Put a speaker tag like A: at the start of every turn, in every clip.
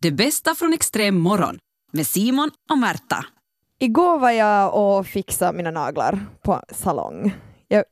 A: Det bästa från extrem morgon med Simon och Märta.
B: Igår var jag och fixade mina naglar på salong. Jag,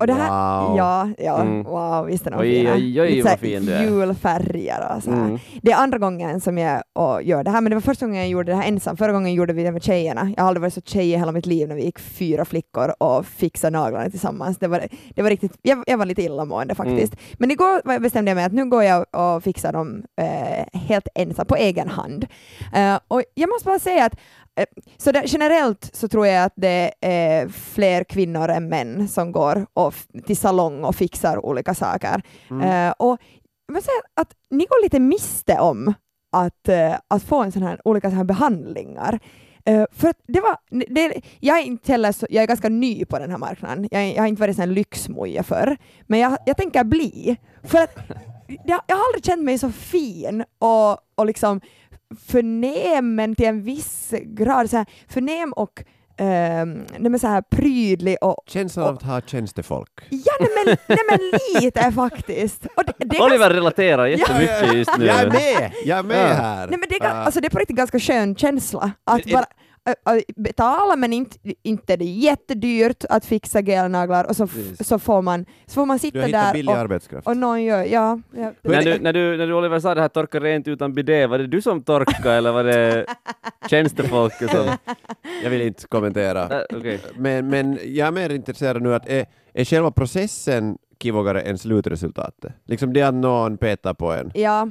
B: och det här,
C: Wow.
B: Ja, ja
C: Mm.
B: wow, visst är de
C: Oj,
B: fina?
C: oj, oj,
B: Lite så här
C: vad fin du är.
B: Julfärger och så här.
C: Mm.
B: Det är andra gången som jag och, gör det här, men det var första gången jag gjorde det här ensam. Förra gången gjorde vi det med tjejerna. Jag har aldrig varit så tjej i hela mitt liv när vi gick fyra flickor och fixade naglarna tillsammans. Det var, det var riktigt, jag, jag var lite illamående faktiskt. Men igår var- bestämde jag mig att nu går jag och fixar dem eh, helt ensam, på egen hand. Eh, och jag måste bara säga att eh, så där, generellt så tror jag att det är fler kvinnor än män som går och f- till salong och fixar olika saker. Eh, och jag måste säga att ni går lite miste om att, eh, att få en sån här, olika sån här behandlingar. Eh, för att det var, det, jag, är inte heller så, jag är ganska ny på den här marknaden. Jag, är- jag har inte varit sån här lyxmoja förr, men jag, jag tänker bli. För att jag, jag har aldrig känt mig så fin och, och liksom förnämen till en viss grad. Så här, förnäm och ehm, nej men så här prydlig och
D: Känslan av att ha tjänstefolk.
B: Ja, nej men, nej men lite faktiskt. Och det, det är ganska-
C: Oliver relaterar jättemycket just nu.
D: Jag är med! Jag är med
C: Ja.
D: här!
B: Nej, men det, är, gan-
D: Ah.
B: alltså, det är på riktigt ganska skön känsla att
C: Men är
B: bara äh, äh, betala men inte, inte det är jättedyrt att fixa gelnaglar och så, f-
D: Precis.
B: så, får man, så får man
D: du
B: sitta
D: har hittat
B: där
D: billig
B: och,
D: arbetskraft.
B: och någon gör, ja, ja
C: När du, när, du, när du Oliver sa det här torka rent utan bidé, var det du som torkade eller var det tjänstefolket som...
D: Jag vill inte kommentera.
C: Äh, Okej.
D: Men, men jag är mer intresserad nu att är, är själva processen kivogare än slutresultatet? Liksom det att någon petar på en.
B: ja,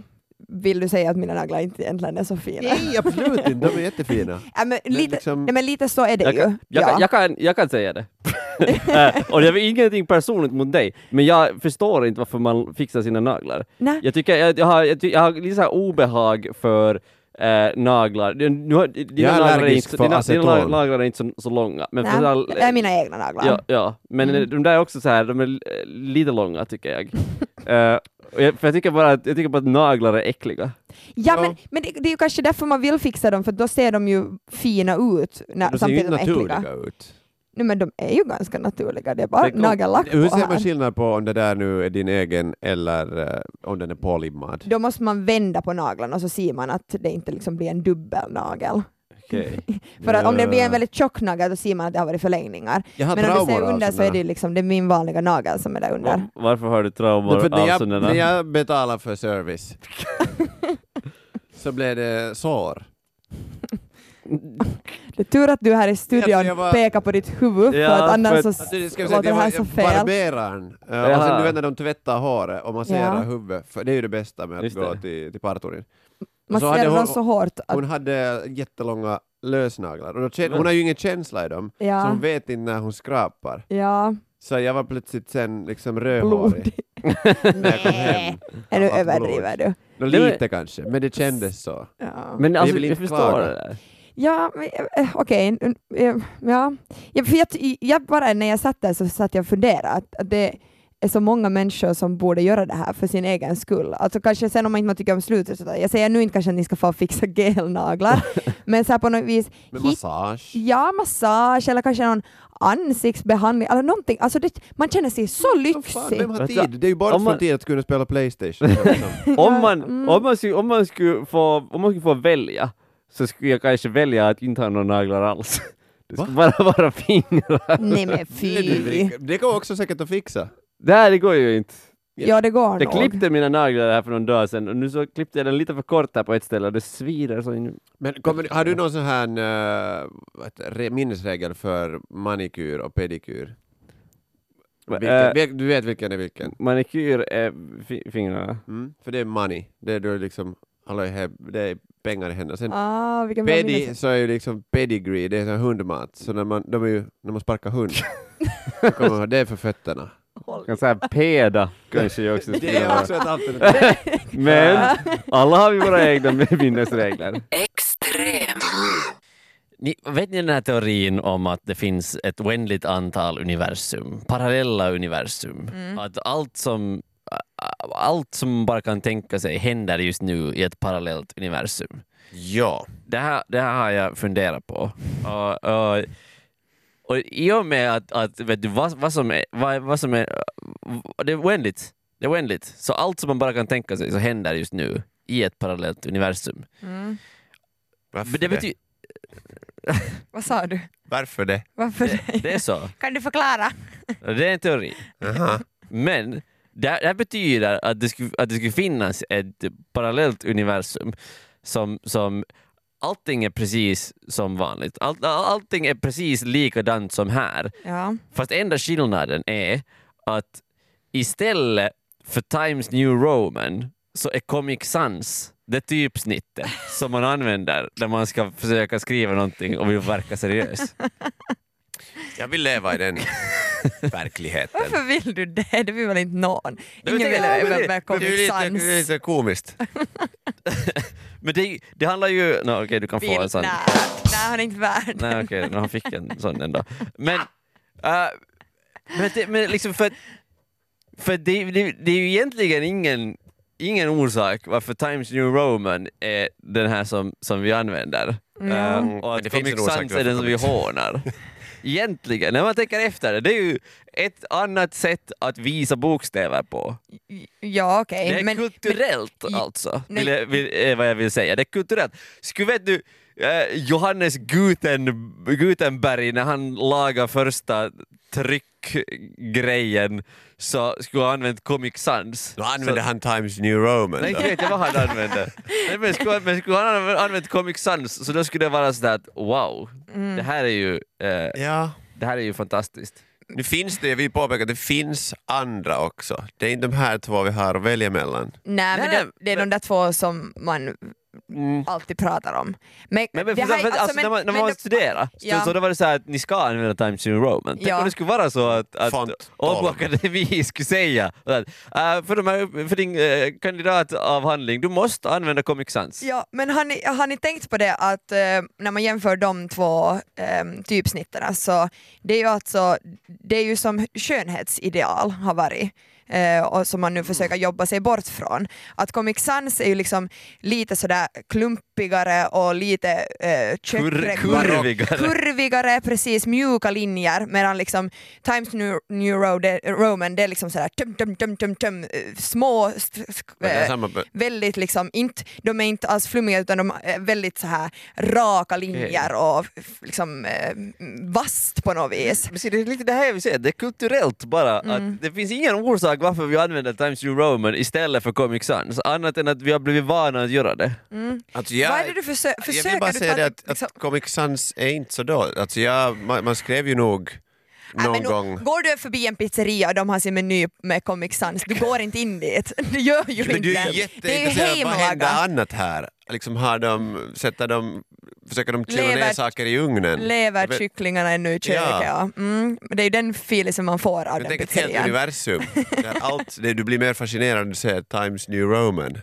B: vill du säga att mina naglar inte egentligen är så fina?
D: Nej, absolut inte. De är jättefina.
B: Ja, men,
D: Men
B: lite,
D: liksom-
B: nej, men lite så är det
C: Jag,
B: ju.
C: kan- jag,
B: ja.
C: kan- jag, kan, jag kan säga det. Äh, och det var ingenting personligt mot dig, men jag förstår inte varför man fixar sina naglar.
B: nej.
C: Jag tycker jag, jag, har, jag, ty- jag har lite så här obehag för eh, naglar. Du- Nu, har- dina
D: Jag är
C: naglar
D: allergisk
C: inte,
D: för
C: dina, dina
D: aceton.
C: na- naglar är inte så, så långa. Men
B: nej,
C: för all-
B: det är mina egna naglar.
C: Ja, ja. men
B: Mm.
C: de där är också så här, de är li- lite långa tycker jag. Eh, och jag för jag tycker, bara att, jag tycker bara att naglar är äckliga.
B: Ja,
D: Ja.
B: men, men det, det är ju kanske därför man vill fixa dem, för då ser de ju fina ut när,
D: De ser ju
B: samtidigt
D: inte
B: som de är äckliga.
D: naturliga ut.
B: Nej, men de är ju ganska naturliga, det är bara
C: Tänk om-
B: nagellack på
D: Hur ser man
B: här.
D: skillnad på om det där nu är din egen eller eh, om den är pålimmad?
B: Då måste man vända på naglarna och så ser man att det inte liksom blir en dubbel nagel. För att om det blir en väldigt tjock nagel då ser man att det har varit förlängningar.
D: Jag har
B: Men om du
D: traumor
B: ser
D: av
B: under så
D: såna.
B: är det, ju liksom, det är min vanliga nagel som är där under.
C: Va- Varför har du traumor
D: Därför att
C: av
D: när, jag,
C: sådana?
D: när jag betalar för service så blev det sår.
B: Det är tur att du här i studion
D: Jag- jag var-
B: pekar på ditt huvud
C: Ja,
B: för att annars
C: för-
B: så
D: Alltså, det ska jag säga,
B: låter
D: att
B: det
D: jag
B: här
D: var
B: så
D: jag-
B: fel.
D: barberaren, Eh, och
C: Jaha.
D: sen du vet när de tvättar håret och masserar
B: Ja.
D: huvudet, för det är ju det bästa med att
C: Just
D: gå
C: det.
D: till, till parturin.
B: Man
D: Och så hade
B: ser dem
D: hon-
B: så hårt att...
D: Hon hade jättelånga lösnaglar, och då kän-
C: Men-
D: hon har ju ingen känsla i dem, så
B: Ja,
D: hon vet inte när hon skrapar.
B: ja,
D: Så jag var plötsligt sen liksom rödhårig
B: blodig.
D: när jag kom hem.
B: Är du
D: Allt
B: överdriver du?
D: Nå,
C: Det var-
D: lite kanske, men det kändes så.
B: Ja.
C: Men alltså,
D: vill
C: jag,
D: inte
C: förstår
D: klaga.
C: det där.
B: Ja, men, eh, okej. n- eh, Ja. Jag, för jag, jag bara, när jag satt där så satt jag och funderade att, att det är så många människor som borde göra det här för sin egen skull. Alltså kanske sen om man inte tycker om slutet, så där. jag säger nu inte kanske att ni ska få fixa gelnaglar, men så här på något vis,
D: Med
B: hit-
D: massage.
B: ja massage eller kanske någon ansiktsbehandling eller någonting. Alltså det, man känner sig så
D: Vad fan,
B: lyxig.
D: Vem har
C: Vet du,
D: tid? Det är ju bara
C: om man-
D: från tid att kunna spela Playstation. liksom.
C: Om man,
B: mm.
C: om, man skulle, om, man skulle få, om man skulle få välja så skulle jag kanske välja att inte ha några naglar alls. Det skulle bara vara fingrar.
B: Nej men
D: Det är
B: fy.
D: du- Det går också säkert att fixa.
C: Det här det går ju inte.
B: Ja det går
C: Jag
B: nog.
C: klippte mina naglar här för någon dag sedan och nu så klippte jag den lite för kort här på ett ställe och det svider så in...
D: Men kommer, har du någon sån här eh, vad heter det, minnesregel för manikyr och pedikyr? Vilken,
C: Äh,
D: vil- du vet vilken är vilken?
C: manikyr är fi- fingrarna.
D: Mm? För det är money, det är då liksom, hallå, här- det är pengar i händerna. Sen
B: Ah, vilken bra
D: pedi,
B: minnes-
D: så är ju liksom pedigree, det är sån här hundmat, så när man, de är ju, när man sparkar hund, då kommer man, ihåg, det är för fötterna.
C: Kan säga peda kanske jag också
D: Det
C: skulle
D: är
C: vara.
D: också ett alternativ.
C: Men alla har vi våra egna minnesregler.
A: Extrem.
E: Ni, vet ni den här teorin om att det finns ett oändligt antal universum, parallella universum?
D: Mm.
E: Att allt som, allt som bara kan tänka sig händer just nu i ett parallellt universum.
D: ja.
E: Det här, det här har jag funderat på. Och, och, och I och med att, att vet du, vad, vad, som är, vad, vad som är... Det är oändligt. Det är oändligt. Så allt som man bara kan tänka sig så händer just nu
C: i ett parallellt universum.
B: Mm.
C: Men
D: Varför
C: det,
D: det?
C: bety-
B: Vad sa du?
D: Varför det?
B: Varför
C: det, det är så.
B: Kan du förklara?
C: Det är en teori.
D: Aha.
C: Men det, här- det här betyder att det, skulle, att det skulle finnas ett parallellt universum som, som allting är precis som vanligt. All, all- allting är precis likadant som här.
B: Ja.
C: Fast enda skillnaden är att istället för Times New Roman så är Comic Sans det typsnittet som man använder när man ska försöka skriva någonting och vill verka seriös.
D: Jag vill leva i den verkligheten.
B: Varför vill du det? Det vill väl inte någon? Ingen vill
C: tänker- Ja, men
B: leva
C: det-
B: med
D: Det är ju
B: Comic
D: lite,
B: Sans.
D: det är lite komiskt.
C: Men det, det handlar ju... No, Okej, du kan få en sån.
B: Nej, nej, han är inte värd.
C: Nej okej, okay, han fick en sån ändå. Men, eh, men, det, men liksom för, för det, det, det är ju egentligen ingen, ingen orsak varför Times New Roman är den här som, som vi använder.
D: Mm.
C: Eh, och
D: Men
C: att
D: det finns
C: Comic
D: en orsak
C: Sans är
D: varför
C: den som vi
D: Comic-
C: hånar. Egentligen, när man tänker efter det, det är ju ett annat sätt att visa bokstäver på.
B: Ja, okej.
C: Det är
B: Eh, men-
C: kulturellt
B: men-
C: alltså,
B: Nej.
C: vill, jag- vill, är vad jag vill säga. Det är kulturellt. Skulle vet du, eh, Johannes Guten, Gutenberg, när han lagade första tryckgrejen så skulle han använt Comic Sans.
D: Nu använder han Times New Roman.
C: Nej,
D: då.
C: inte vet jag vad han använde. Nej, Men skulle, men skulle han ha använt Comic Sans så då skulle det vara sådär att wow,
B: mm.
C: det, här är ju, eh,
D: Ja.
C: det här är ju fantastiskt.
D: Nu finns det, jag vill påpeka, det finns andra också. Det är inte de här två vi har att välja mellan.
B: Nej, men
C: Nej,
B: det, det är de där två som man
D: Mm.
B: alltid pratar om. Men,
C: Men, men,
B: det
C: för,
B: här-
C: för, alltså,
B: alltså, men-
C: när man, när
B: men
C: man
B: det-
C: studerar
B: ja.
C: så, så då var det så här att ni ska använda Times New Roman. Tänk
B: Ja.
C: om det skulle vara så att, att
D: Font 12.
C: Åbo Akademi skulle säga att äh, för, de här, för din eh, kandidatavhandling, du måste använda Comic Sans.
B: Ja, men har ni, har ni tänkt på det att eh, när man jämför de två eh, typsnitten så det är ju alltså, det är ju som skönhetsideal har varit eh, och som
D: Mm.
B: man nu försöker jobba sig bort från. Att Comic Sans är ju liksom lite sådär klumpigare och lite eh,
C: Kur,
B: tjockare-
C: kurvigare.
B: kurvigare, precis mjuka linjer medan liksom Times New, New Road, Roman det är liksom sådär tum, tum, tum, tum, tum, eh, små st- sk-
D: Men det är
B: eh,
D: samma...
B: väldigt liksom, inte, de är inte alls flummiga utan de är väldigt så här raka linjer och f- liksom eh, vasst på något vis.
C: Men se, det är lite det här jag vill säga, det är kulturellt bara.
B: Mm.
C: Att det finns ingen orsak varför vi använder Times New Roman istället för Comic Sans, annat än att vi har blivit vana att göra det.
D: Alltså jag,
B: Vad är det du försö-
D: jag vill
B: försöker
D: bara
B: du
D: säga
B: ta-
D: det att,
B: liksom-
D: att Comic Sans är inte så dåligt. Alltså jag, man, man skrev ju nog
B: Nej,
D: någon
B: men nu-
D: gång...
B: Går du förbi en pizzeria och de har sin meny med Comic Sans, du går inte in dit. Du gör ju
D: Men
B: inte
D: du är
B: det.
D: ju
B: Det är ju
D: jätteintresserad, vad händer
B: hemlaga.
D: annat här? Liksom har de, sätter de, försöker de kyla
B: Lever-
D: ner saker i ugnen? Jag vet-
B: Leverkycklingarna är nu i köket.
D: Ja.
B: Ja. Mm, det är ju den filen som man får av
D: Jag
B: den
D: tänker ett helt
B: pizzerian.
D: universum. Där allt, det, du blir mer fascinerad när du ser Times New Roman.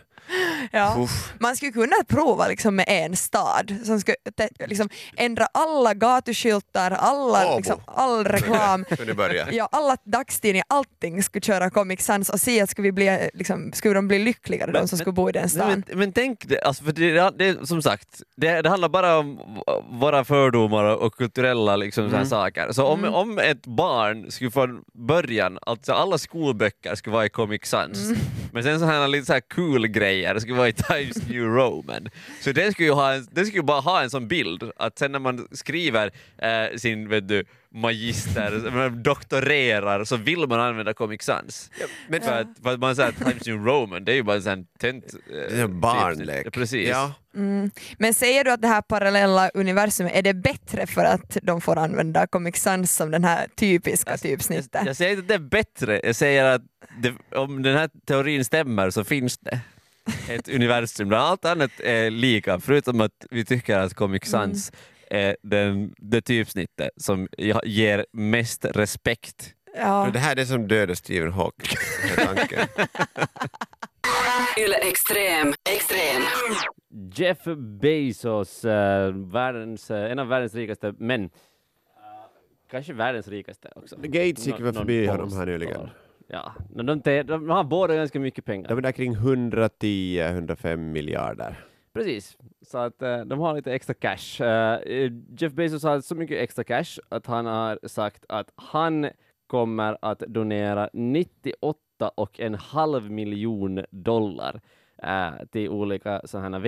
B: Ja.
D: Uff.
B: Man skulle kunna prova liksom med en stad som skulle te- liksom ändra alla gatuskyltar, alla,
D: Åbo.
B: liksom, all reklam.
D: Kunde börja.
B: Ja, alla dagstidningar, allting skulle köra Comic Sans och se att skulle, vi bli, eh, liksom, skulle de bli lyckligare, de
C: Men-
B: som
C: men-
B: skulle bo i den
C: Nej,
B: stan.
C: Men, men tänk det, alltså för det, det, är som sagt, det, det handlar bara om v- våra fördomar och kulturella liksom, så här saker. Så om, om ett barn skulle från början, alltså alla skolböcker skulle vara i Comic Sans, men sen så här lite så här cool grejer skulle vara i Times New Roman. Så den skulle ju ha en, den skulle ju bara ha en sån bild att sen när man skriver eh, sin, vet du, magister, när man doktorerar så vill man använda Comic Sans.
D: Men
C: För att, för att man säger att Times New Roman, det är ju bara en sån här tönt... eh,
D: det är en barnlek.
C: typ. Precis.
D: Ja.
B: Mm. Men säger du att det här parallella universumet, är det bättre för att de får använda Comic Sans som den här typiska typ
C: Jag,
B: typsnittet?
C: jag säger inte att det är bättre, jag säger att det, om den här teorin stämmer så finns det ett universum där allt annat är lika, förutom att vi tycker att Comic Sans är den, det typsnittet som ja- ger mest respekt.
B: Ja.
D: Men Det här är det som dödade Stephen Hawking. den här tanken.
A: Yle Extrem. Extrem.
F: Jeff Bezos, eh, världens, eh, en av världens rikaste män. Eh, kanske världens rikaste också.
G: Gates gick
F: Nå-
G: väl
F: någon
G: förbi honom
F: post
G: här nyligen.
F: var. Ja, men de, te- de har båda ganska mycket pengar.
G: De är där kring 110-105 miljarder.
F: Precis, så att eh, de har lite extra cash. Eh, Jeff Bezos har så mycket extra cash att han har sagt att han kommer att donera 98 och en halv miljon dollar
C: eh, till olika sådana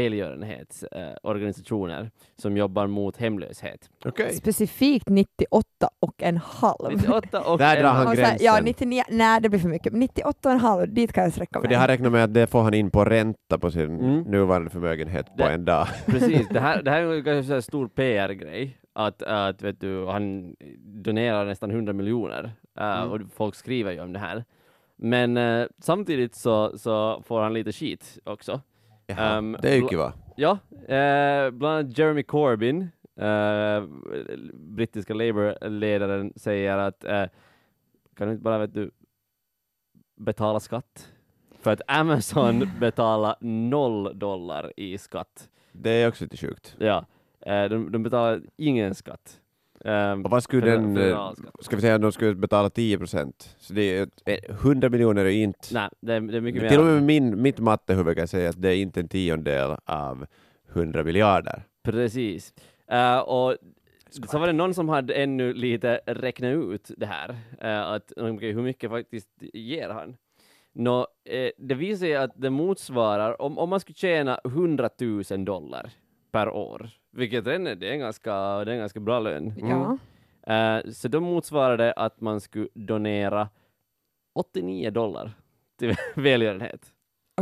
C: välgörenhetsorganisationer som jobbar mot hemlöshet.
D: Okej.
B: Specifikt 98 och en halv.
C: 98 och
D: Där
C: en-
D: drar han
B: Och så här, ja,
D: gränsen.
B: 99, nej det blir för mycket. 98 och en halv, dit kan jag sträcka
D: För
B: mig.
D: det har räknat med att det får han in på ränta på sin
C: Mm.
D: nuvarande förmögenhet på
C: Det-
D: en dag.
C: Precis, det här, det här är ju kanske en sån här stor PR-grej. Att, att vet du, han donerar nästan 100 miljoner eh, och folk skriver ju om det här. Men eh, samtidigt så, så får han lite skit också.
D: Jaha,
C: Ehm,
D: det är ju
C: bl-
D: kiva.
C: Ja, eh, bland annat Jeremy Corbyn, eh, brittiska Labour-ledaren, säger att eh, kan du inte bara vet du, betala skatt? För att Amazon betalar noll dollar i skatt.
D: Det är också lite sjukt.
C: Ja, eh, de, de betalar ingen skatt. Ehm,
D: Och vad skulle
C: feder-
D: den... eh,
C: federal skatt.
D: Ska vi säga att de skulle betala 10 procent? Så det är ett- 100 miljoner är ju inte...
C: Nej, det är, det är mycket mer.
D: Till och med min, mitt mattehuvud kan säga att det är inte en tiondel av 100 miljarder.
C: Precis. Eh, och så var det någon som hade ännu lite räknat ut det här, eh, att okej, hur mycket faktiskt ger han? Nå, eh, det visar sig att det motsvarar, om, om man skulle tjäna 100 000 dollar per år, vilket redan är, det är en ganska, det är en ganska bra lön.
B: Ja.
C: Eh, så då motsvarar det att man skulle donera 89 dollar till välgörenhet.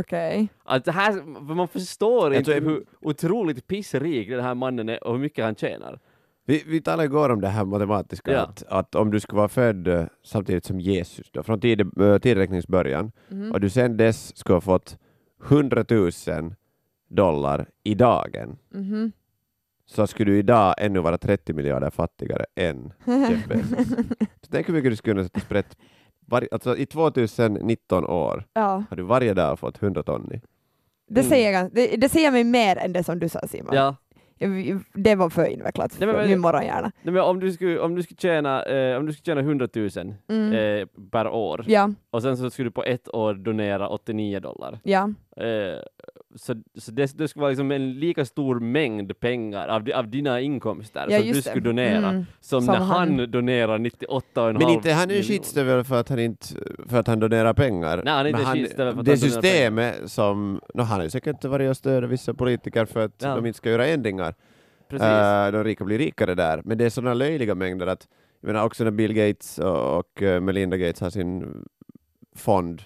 B: Okej.
C: Att det här, för man förstår
D: Jag
C: inte
D: tror-
C: hur otroligt pissrik den här mannen är och hur mycket han tjänar.
D: Vi, vi talade igår om det här matematiska,
C: Ja.
D: att, att om du skulle vara född eh, samtidigt som Jesus, då, från tid, eh, tideräkningens början,
B: Mm-hmm.
C: Mm.
D: och du sen dess skulle ha fått 100 000 dollar i dagen,
B: Mhm.
D: så skulle du idag ännu vara 30 miljarder fattigare än Jeff Bezos. Så tänk hur mycket du skulle kunna sätta sprätt. Var, alltså, I 2019 år
B: Ja,
D: har du varje dag fått 100 ton i.
B: det
C: Mm.
B: säger, jag- det, det säger mig mer än det som du sa Simon.
C: Ja.
B: Jag- Det var för invecklat för
C: Nej, men-
B: min morgonhjärna.
C: Nej, men om du skulle, om du skulle, tjäna, eh, om du skulle tjäna 100 000
B: Mm.
C: eh, per år
B: Ja,
C: och sen så skulle du på ett år donera 89 dollar.
B: ja.
C: Eh, så så det, det skulle vara liksom en lika stor mängd pengar av, di- av dina inkomster
B: ja
C: som alltså, du
B: just det.
C: skulle donera
B: Mm.
C: som,
B: Som
C: när han,
B: han.
C: donerar 98,5
D: Men inte han är ju
C: miljoner.
D: skitstövel för att han inte för att han donerar pengar.
C: Nej, han är
D: Men
C: inte skitstövel för att
D: Det
C: han donerar
D: systemet som... nå han har ju säkert varit och stöder vissa politiker för att
C: Ja.
D: de inte ska göra ändringar.
C: Precis.
D: Eh, de rika blir rikare där. Men det är sådana löjliga mängder att... Jag menar också när Bill Gates och, och eh, Melinda Gates har sin fond,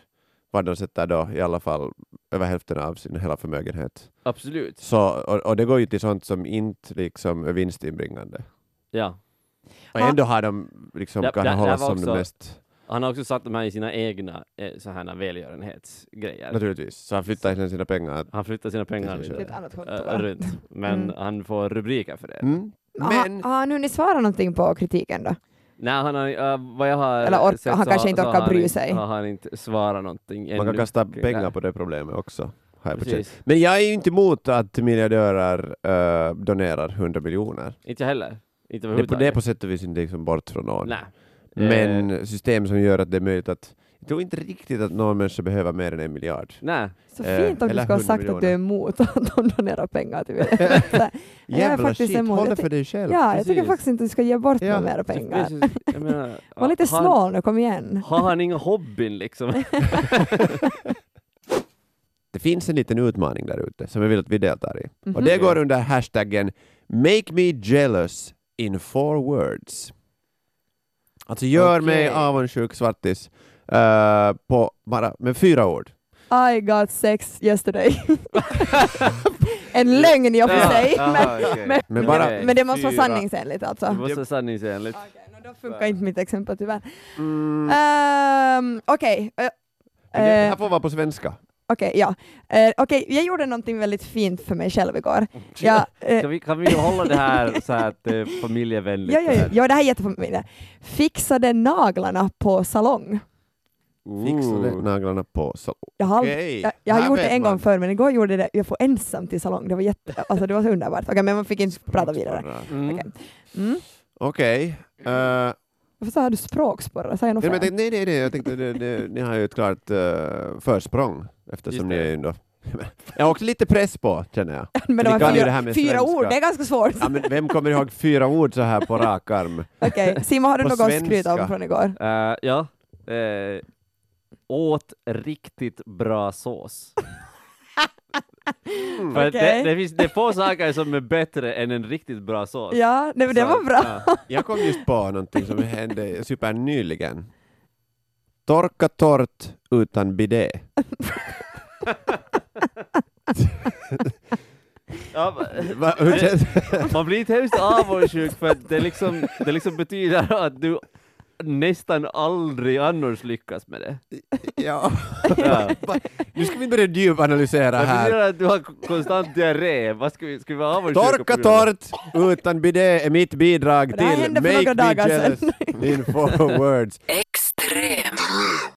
D: vad de sätter då i alla fall över hälften av sin hela förmögenhet.
C: Absolut.
D: Så, och, och det går ju till sånt som inte liksom är vinstinbringande.
C: Ja.
D: Och
B: Ja.
D: ändå har de liksom,
C: Ja,
D: kan
C: där- där
D: hållas
C: var
D: som det
C: också-
D: mest...
C: Han har också satt de här i sina egna eh, så här välgörenhetsgrejer.
D: Naturligtvis. Så han flyttar sen sina pengar.
C: Han flyttar sina pengar
D: Precis,
C: lite,
B: Till ett annat konto,
C: eh,
B: va?
C: runt, men
B: Mm.
C: han får rubriker för det.
D: Mm.
B: Men...
D: Men...
B: Har, har han hunnit svara någonting på kritiken då?
C: Nej, han har, eh, vad jag har
B: Eller ork-
C: sett
B: han
C: så
B: kanske
C: har-
B: inte
C: så
B: orkar
C: har
B: bry
C: han,
B: sig.
C: Har han inte svarat någonting
D: Man kan
C: ännu.
D: kasta
C: kring
D: pengar
C: det.
D: på det problemet också. har jag på känn.
C: Precis.
D: Men jag är ju inte emot att miljardörer eh, donerar 100 miljoner.
C: Inte jag heller.
D: Det,
C: Inte
D: är på- det är
C: överhuvudtaget.
D: på sätt och vis inte liksom bort från någon.
C: Nej. Eh,
D: Men system som gör att det är möjligt att... Jag tror inte riktigt att någon människa behöver mer än en miljard.
C: nej.
B: Så
D: Eh,
B: fint om du
D: eller
B: skulle ha
D: 100
B: sagt att du är emot att de donerar pengar till mig. Jag är
D: Jävla
B: faktiskt
D: shit,
B: emot.
D: håll det
B: Jag ty-
D: för dig själv.
B: Ja, jag tycker
C: Precis.
B: faktiskt inte du ska ge bort
D: Ja,
B: några mer
C: Det
B: pengar.
C: finns ju- jag menar,
B: Var lite
C: har-
B: snål nu, kom igen.
C: Har han ingen hobbyn liksom?
D: Det finns en liten utmaning där ute som jag vill att vi deltar i.
B: Mhm.
D: Och det går under hashtaggen Make me jealous in four words. Alltså gör mig
C: Okej.
D: avundsjuk svartis eh, på bara med fyra ord.
B: Mm-hmm. I got sex yesterday. en lögn i och för
C: Ja,
B: sig.
C: ja,
B: men,
C: okej.
B: men,
D: Men bara,
C: Okej.
B: men det måste vara
D: fyra.
B: sanningsenligt alltså.
C: Det måste vara sanningsenligt.
B: Okej, no, då funkar inte mitt exempel tyvärr.
D: Mm,
B: Eh, Ehm, Okej, eh,
D: men det, det här
B: eh,
D: får vara på svenska.
B: okej, ja. Eh, Okej, jag gjorde någonting väldigt fint för mig själv igår. Jag, eh,
C: Kan vi, kan vi hålla det här så här att det är familjevänligt?
B: Ja, ja, ja. ja, det här är jättefamiljär. Fixade naglarna på salong.
D: Fixade naglarna på så.
B: Jag har, aldrig-
D: Okej,
B: jag, jag har
D: här
B: gjort det
D: vet
B: en
D: man.
B: gång förr, men igår gjorde jag det, jag får ensam till salong. Det var, jätte, alltså, det var så underbart. Okej, men man fick inte prata vidare.
C: Mm.
B: Okej. Mm.
D: Okej. eh,
B: Varför sa du språksporre? Sa jag något
D: nej, men jag
B: fel?
D: tänkte- nej, nej, nej, jag tänkte det, det, ni har ju ett klart eh, försprång eftersom
C: Just
D: ni
C: det.
D: är ju ändå... Jag har också lite press på, känner jag.
B: Men de
D: ni kan
B: här
D: ju det här
B: fyra,
D: med
B: fyra
D: svenska.
B: ord, det är ganska svårt.
D: Ja, men vem kommer ihåg fyra ord så här på rak arm?
B: Okej, Simon har du
D: På
B: något att skryta
D: svenska.
B: om från igår?
C: Eh, ja. Eh, åt riktigt bra sås. För att
B: Okej.
C: det, det, finns, det är få saker som är bättre än en riktigt bra sås.
B: Ja, nej, men det
C: Så,
B: var bra.
C: ja.
D: Jag kom just på någonting som hände supernyligen. Torka torrt utan bidé.
C: Ja, men-
D: Va, hur känns
C: Man blir inte hemskt avundsjuk för att det liksom, det liksom betyder att du nästan aldrig annars lyckas med det.
D: ja.
C: Ja.
D: Nu ska vi börja djupanalysera
C: Det
D: här.
C: betyder att du har konstant diarré. Vad ska vi, ska vi vara avundsjuka
D: Torka
C: på grund av det?
D: torrt utan bidé är mitt bidrag
B: Det här
D: till
B: hände för
D: Make
B: några
D: Me
B: dagar
D: Jealous in four words.
A: Ex